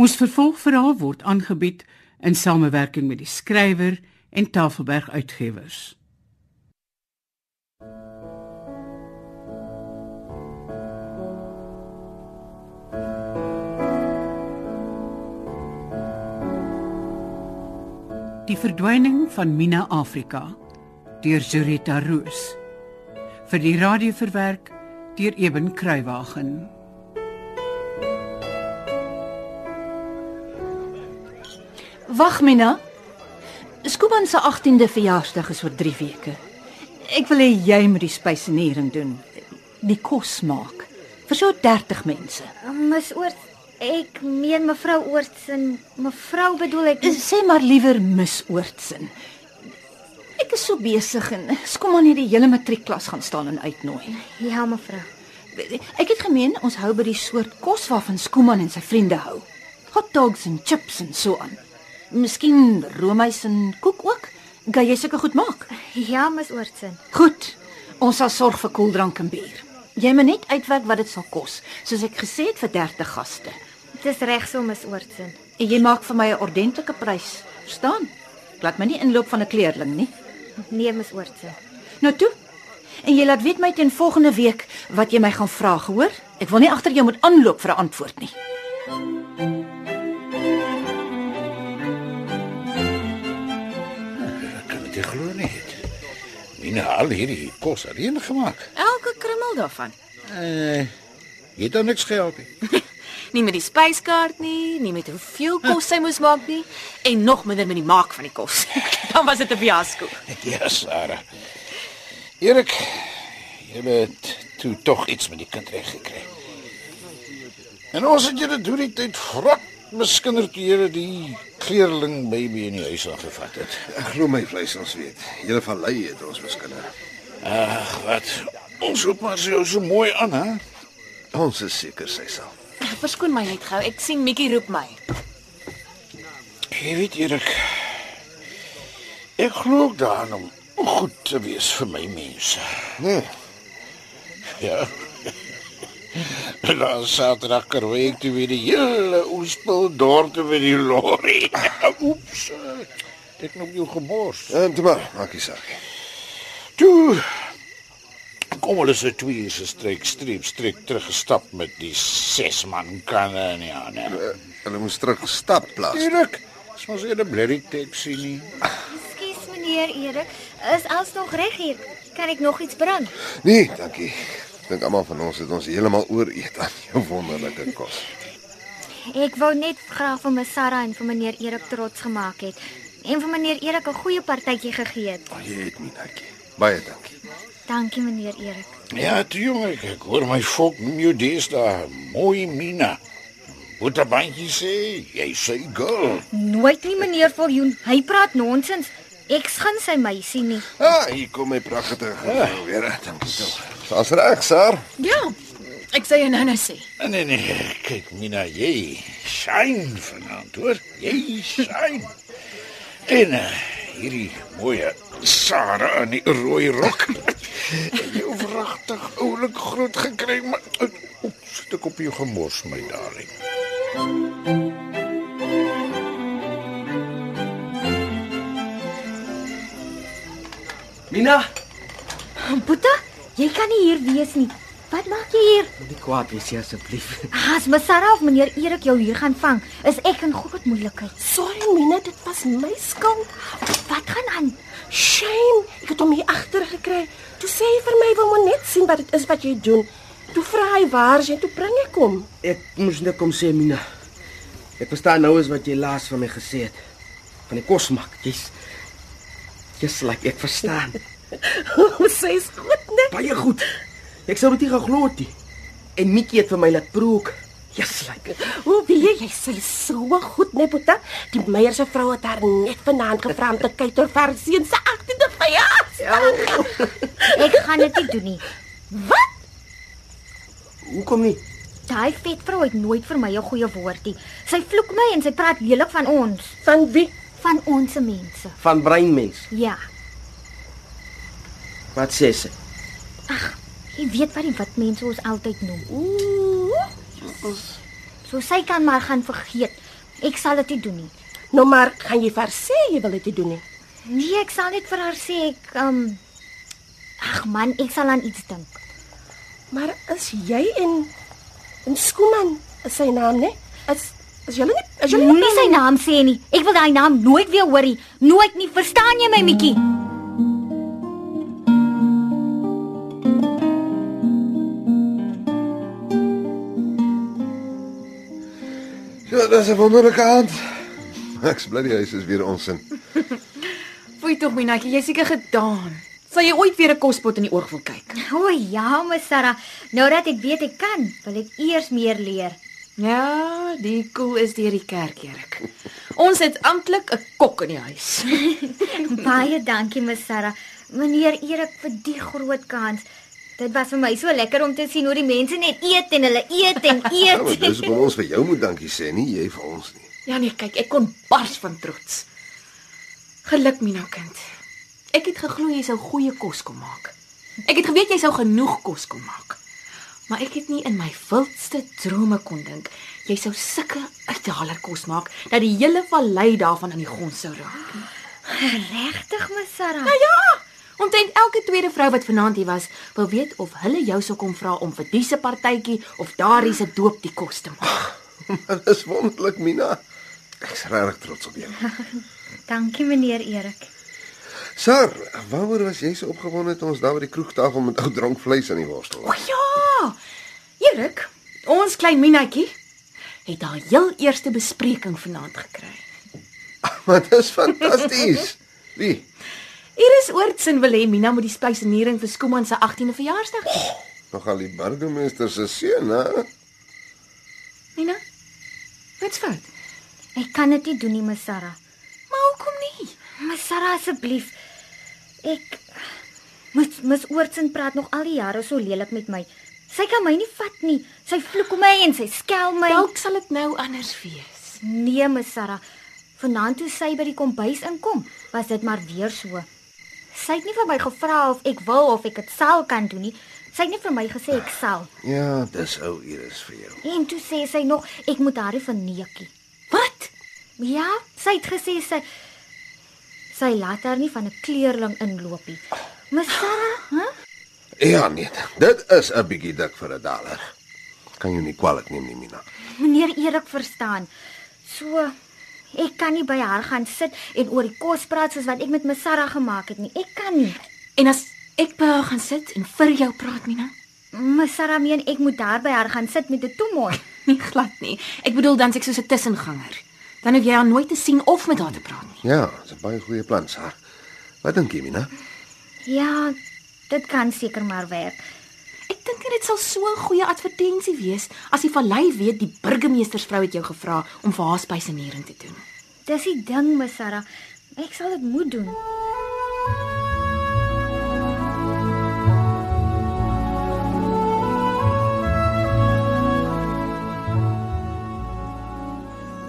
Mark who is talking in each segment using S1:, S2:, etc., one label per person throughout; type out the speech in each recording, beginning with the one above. S1: Ons vervolgverhaal word aangebied in samewerking met die skrywer en Tafelberg Uitgewers. Die verdwyning van Mina Afrika deur Zurita Roos vir die radio verwerk deur Eben Kruiwagen.
S2: Wag, Mina. Skuban se 18de verjaarsdag is oor 3 weke. Ek wil hê jy moet die spysenering doen. Die kos maak vir so 30 mense.
S3: Mis oor ek meen mevrou Oortsen, mevrou bedoel ek
S2: Sê maar liewer Miss Oortsen. Ek is so besig en Skuban het die hele matriekklas gaan staan en uitnooi.
S3: ja mevrou.
S2: Ek het gemeen ons hou by die soort kos waarvan Skuman en sy vriende hou. Hot dogs en chips en so aan. Miskien roomys en koek ook. Gaan jy seker goed maak?
S3: Ja, mis Oortsen.
S2: Goed. Ons sal sorg vir koeldrank en bier. Jy moet net uitwerk wat dit sal kos, soos ek gesê het vir 30 gaste.
S3: Dis reg so mis Oortsen.
S2: En jy maak vir my 'n ordentlike prys, verstaan? Ek laat my nie inloop van 'n kleerling nie.
S3: Nee, mis Oortsen.
S2: Nou toe. En jy laat weet my teen volgende week wat jy my gaan vra, hoor? Ek wil nie agter jou moet aanloop vir 'n antwoord nie.
S4: Ek kan dit nie glo nie. Mina al hierdie kos alleen gemaak.
S5: Elke krummel daarvan.
S4: Eh, jy het dan niks gehelp nie.
S5: Nie met die spyskaart nie, nie met hoeveel kos sy moes maak nie en nog minder met die maak van die kos. Dan was dit 'n fiasco.
S4: Ja, Sarah. Erik, jy het toe tog iets met die kind reg gekry. En ons het julle deur die tyd vrot miskindertjiere die kleerling baby in die huis aangevat het.
S6: Ek glo my vleis ons weet. Julle van lei het ons miskinder.
S4: Ag, wat. Ons hoop maar sy hou so mooi aan, hè?
S6: Ons is seker sy sal.
S5: Verskoon my net gou. Ek sien Mikkie roep my.
S4: Jy weet Erik. Ek glo ook daaraan om goed te wees vir my mense.
S6: Nee,
S4: Ja. Dan Saterdag kry ek toe weer die hele oespel dorp toe by die lorry. Ja, Oeps. Ek het nog jou gemors.
S6: ehm toe maar, maak nie saak.
S4: Toe kom hulle so twee uur se streek streep streek teruggestap met die ses man kanne in die hande.
S6: Eh, Hulle moes terug stap plaas.
S4: Erik, is mos hier 'n blerrie taxi nie.
S3: Ekskuus meneer Erik, is alles nog reg hier? Kan ek nog iets bring?
S6: Nee, dankie. Ek dink almal van ons het ons heeltemal ooreet aan jou wonderlike kos.
S3: Ek wou net graag vir my Sarah en vir meneer Erik trots gemaak het en vir meneer Erik 'n goeie partytjie gegee het.
S6: Maar jy het nie, dankie. Baie dankie.
S3: Dankie meneer Erik.
S4: Ja, toe jong, ek, ek hoor my volk noem jou deesdae mooi Mina. Boetabandjie sê, jy sê girl.
S3: Nooit nie meneer Viljoen, hy praat nonsens. Ek skyn sy meisie nie.
S6: Ah, hier kom my pragtige vrou weer. Dankie tog. Ons reg, Saar.
S5: Ja. Ek sê jou nou-nou sê.
S4: Nee nee nee, kyk Mina, jy shine vanaand, hoor? Jy shine. En uh, hierdie mooi Sarah in die rooi rok. jou wragtig oulik groot gekry, maar uh, oeps, het ek op jou gemors my darling.
S7: Mina,
S3: Boeta, jy kan nie hier wees nie. Wat maak jy hier? Ah,
S7: moenie kwaad wees nie asseblief.
S3: As my Sarah of meneer Erik jou hier gaan vang, is ek in groot moeilikheid.
S8: Sorry Mina, dit was my skuld.
S3: Wat gaan aan?
S8: Shame, ek het hom hier agter gekry. Toe sê hy vir my wil maar net sien wat dit is wat jy doen. Toe vra hy waar is jy, toe bring ek hom.
S7: Ek moes net kom sê Mina. Ek verstaan nou eens wat jy laas van my gesê het. Van die kos maak. Jy's Jy's like ek verstaan.
S8: Sy is goed, né?
S7: Baie goed. Ek sou dit nie geglo het nie. En Mikkie het vir my laat proe ook. Jy's like
S8: Hoe weet jy jy sy is so goed, né, Boeta? Die meier se vrou het haar net vanaand gevra om te kyk oor ver seun se 18de verjaarsdag.
S3: Ek gaan dit nie doen nie.
S8: Wat?
S7: hoekom nie?
S3: Daai vet vrou het nooit vir my 'n goeie woord nie. Sy vloek my en sy praat lelik van ons,
S8: Van wie?
S3: van ons mense.
S7: Van brein mens.
S3: Ja,
S7: Wat sê sy?
S3: jy weet wat die wit mense ons altyd noem.
S8: Ooh.
S3: So sy kan maar gaan vergeet. Ek sal dit nie doen nie.
S8: Nou maar, gaan jy vir haar sê jy wil dit nie doen nie?
S3: Nee, ek sal net vir haar sê ek ehm um, Ag man, ek sal aan iets dink.
S8: Maar is jy en en Skuman is sy naam, né? Is is julle nie is julle
S3: Moenie sy naam sê nie. Ek wil daai naam nooit weer hoor nie. Nooit nie. Verstaan jy my, Mikkie?
S6: Ja, dis 'n wonderlike aand. Ek's bly die huis is weer ons in.
S5: Foei tog Minatjie, jy's seker gedaan. Sal jy ooit weer 'n kospot in die oog wil kyk?
S3: O ja, my Sarah. Nou dat ek weet ek kan, wil ek eers meer leer.
S5: Ja, die koel is deur die kerk, Erik. Ons het amptelik 'n kok in die huis.
S3: Baie dankie, my Sarah. Meneer Erik vir die groot kans. Dit was vir my so lekker om te sien hoe die mense net eet en hulle eet en
S6: Ja, maar
S3: eet.
S6: dis hoekom ons vir jou moet dankie sê, nie jy vir ons nie.
S5: Ja nee, kyk, ek kon bars van trots. Geluk Mina kind. Ek het geglo jy sou goeie kos kom maak. Ek het geweet jy sou genoeg kos kom maak. Maar ek het nie in my wildste drome kon dink jy sou sulke uithaler kos maak dat die hele vallei daarvan aan die grond sou raak.
S3: Regtig, my Sarah.
S5: Omtrent elke tweede vrou wat vanaand hier was, wil weet of hulle jou sou kom vra om vir dise partytjie of daardie se doop die kos te maak.
S6: Maar dis wonderlik, Mina. Ek's regtig trots op jou.
S3: Dankie, meneer Erik.
S6: Sar, waaroor was jy so opgewonde toe ons daar by die kroegtafel met ou drankvleis aan die worstel
S5: O
S6: was?
S5: ja. Erik, ons klein Minatjie het haar heel eerste bespreking vanaand gekry.
S6: Maar dis fantasties. Wie?
S5: Iris Oortsen wil hê Mina moet die spysenering vir Skooman se 18de verjaarsdag. hê.
S6: Nogal die burgemeester se seun, hè?
S5: Mina? Wat's fout?
S3: Ek kan dit nie doen nie, my Sarah.
S5: Maar hoekom nie?
S3: Maar Sarah asseblief. Ek mis mis Oortsen praat nog al die jare so lelik met my. Sy kan my nie vat nie. Sy vloek my en sy skel my.
S5: Dalk sal dit nou anders wees.
S3: Nee, my Sarah. Vanaand toe sy by die kombuis inkom, was dit maar weer so. Sy het nie vir my gevra of ek wil of ek dit sal kan doen nie. Sy het net vir my gesê ek sal.
S6: Ja, dis ou Iris vir jou.
S3: En toe sê sy nog ek moet haar nie verneekie.
S5: Wat?
S3: Ja, sy het gesê sy sy laat haar nie van 'n kleerling inloop nie. Ms Sarah, hè?
S6: Ja, nee. Dit is 'n bietjie dik vir 'n daler. Kan jy nie kwaliek neem nie, Mina.
S3: Meneer Erik verstaan. So ek kan nie by haar gaan sit en oor die kos praat soos wat ek met my Sarah gemaak het nie. Ek kan nie.
S5: En as ek by haar gaan sit en vir jou praat, Mina?
S3: My Sarah meen ek moet daar by haar gaan sit met 'n toemooi.
S5: Nee, glad nie. Ek bedoel dan's ek soos 'n tussenganger. Dan hoef jy haar nooit te sien of met haar te praat nie.
S6: Ja, dis 'n baie goeie plan, Sar. Wat dink jy, Mina?
S3: Ja, dit kan seker maar werk.
S5: Ek dink nie dit sal so 'n goeie advertensie wees as die vallei weet die burgemeestersvrou het jou gevra om vir haar spysenering te doen.
S3: Dis die ding, my Sarah. Ek sal dit moet doen.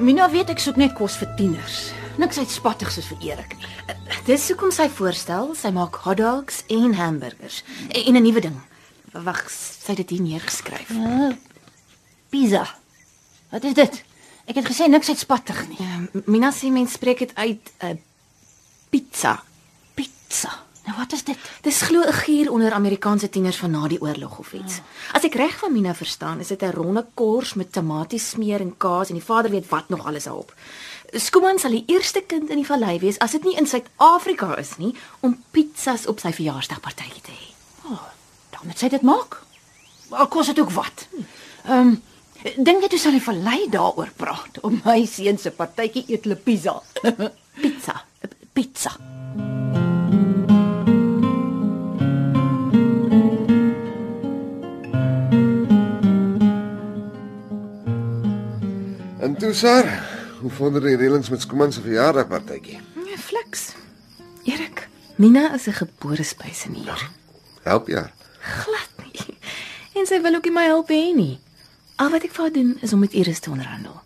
S2: Mina weet ek soek net kos vir tieners. Niks uitspattig soos vir Erik nie.
S5: Eh, Dis hoekom sy voorstel, sy maak hotdogs en hamburgers en, en 'n nuwe ding. Wag, sy het dit hier neergeskryf.
S2: Pizza. Wat is dit? Ek het gesê niks uitspattig nie.
S5: Ja, Mina sê mens spreek dit uit 'n pizza.
S2: Pizza. Nou wat is dit?
S5: Dis glo 'n gier onder Amerikaanse tieners van na die oorlog of iets.
S2: Ah.
S5: As ek reg van Mina verstaan, is dit 'n ronde kors met tomatiesmeer en kaas en die vader weet wat nog alles daarop. Skooman sal die eerste kind in die vallei wees as dit nie in Suid-Afrika is nie om pizzas op sy verjaarsdagpartytjie te hê.
S2: Oh, Dan moet sy dit maak. Maar kos dit ook wat? Ehm um, dink jy toe sal hy verlei daaroor praat om my seun se partytjie eet hulle pizza.
S5: Pizza.
S2: pizza.
S6: En toe, Sar, hoe vonder die reëlings met Skuman se verjaardagpartytjie?
S5: Nee, fliks. Erik, Mina is 'n gebore spysenier.
S6: Help ja.
S5: Glad nie. En sy wil ook nie my help hê nie. Al wat ek vir haar doen is om met Iris te onderhandel.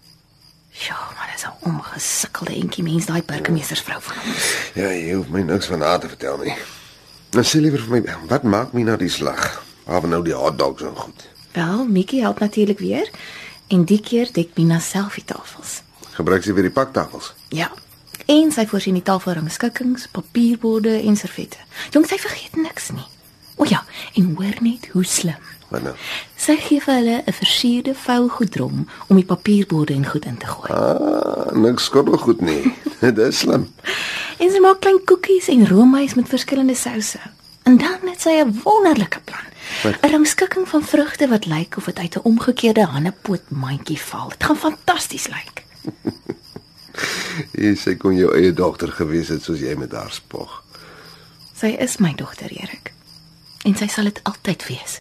S5: Ja, maar dis 'n omgesukkelde entjie mens daai burgemeestersvrou van ons.
S6: Ja, jy hoef my niks van haar te vertel nie. Dan sê liewer vir my, wat maak Mina die slag? Hawe nou die hotdogs en goed.
S5: Wel, Mikkie help natuurlik weer en die keer dek Mina self die tafels.
S6: Gebruik sy weer die paktafels.
S5: Ja. En sy voorsien die tafelrangskikkings, papierborde en servette. Jong, sy vergeet niks nie. O ja, en hoor net hoe slim.
S6: Wat nou?
S5: Sy gee vir hulle 'n versierde vou goedrom om die papierborde en goed in te gooi.
S6: Ah, niks skottel goed nie. Dis slim.
S5: En sy maak klein koekies en roomys met verskillende souse. En dan het sy 'n wonderlike plan. 'n Rangskikking van vrugte wat lyk of dit uit 'n omgekeerde hannepoot mandjie val. Dit gaan fantasties lyk.
S6: Jy sê kon jou eie dogter gewees het soos jy met haar spog.
S5: Sy is my dogter, Erik. En sy sal dit altyd wees.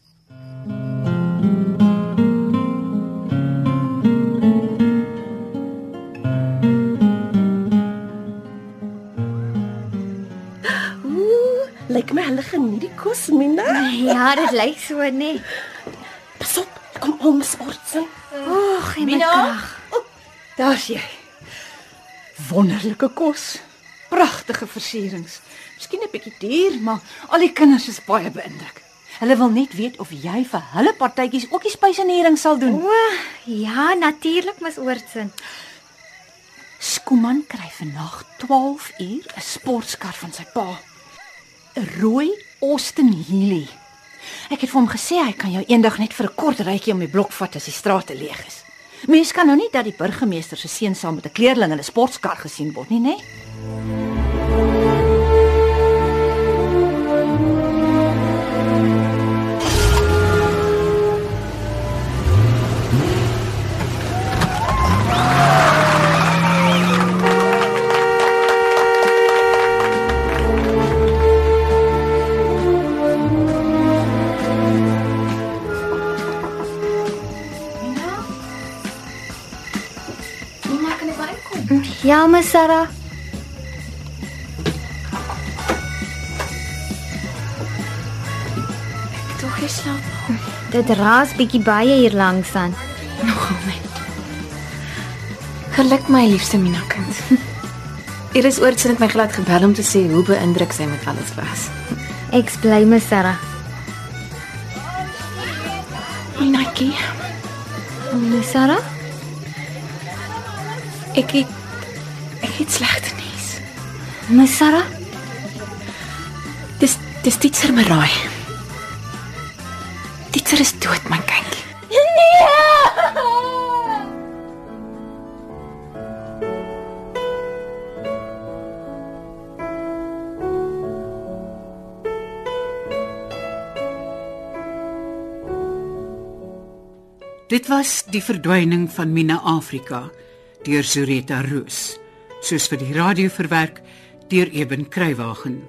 S8: Ooh, lyk my hulle geniet die kos, Mina.
S3: Ja, dit lyk so, nê. Nee.
S8: Pas op, kom om sportsing.
S3: Oeg, en my krag.
S2: Ja. Daar's jy. Wonderlike kos. Pragtige versierings. Miskien 'n bietjie duur, maar al die kinders is baie beïndruk. Hulle wil net weet of jy vir hulle partytjies ook die spysenering sal doen.
S3: O, ja, natuurlik, Ms. Oortsen.
S2: Skooman kry vandag 12 uur 'n sportkar van sy pa. 'n Rooi Austin Healey. Ek het vir hom gesê hy kan jou eendag net vir 'n kort rykie om die blok vat as die strate leeg is. Mens kan nou nie dat die burgemeester se seun saam met 'n kleerling in 'n sportkar gesien word nie, né? Nee?
S5: Mamma kan dit baie kom.
S3: Ja, Ms. Sarah.
S5: Tog jy slaap
S3: Dit raas bietjie baie hier langs aan.
S5: nogal net. Geluk my liefste Mina kind. Iris Oortsen het my glad gebel om te sê hoe beïndruk sy met alles was.
S3: Ek's bly, Ms. Sarah.
S5: Minakie,
S3: Ms. Sarah?
S5: ek het ek het slegte nuus.
S3: Ms. Sarah?
S5: Dis dis Titser Maraai. Titser is dood my kind.
S1: Dit was die verdwyning van Mina Afrika deur Zureta Roos, soos vir die radio verwerk deur Eben Kruiwagen.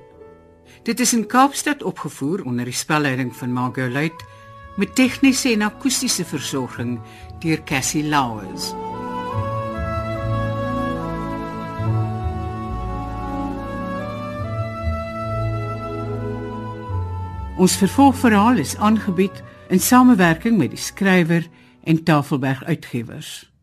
S1: Dit is in Kaapstad opgevoer onder die spelleiding van Margot Luit met tegniese en akoestiese versorging deur Cassie Lauers. Ons vervolgverhaal is aangebied in samewerking met die skrywer en Tafelberg Uitgewers.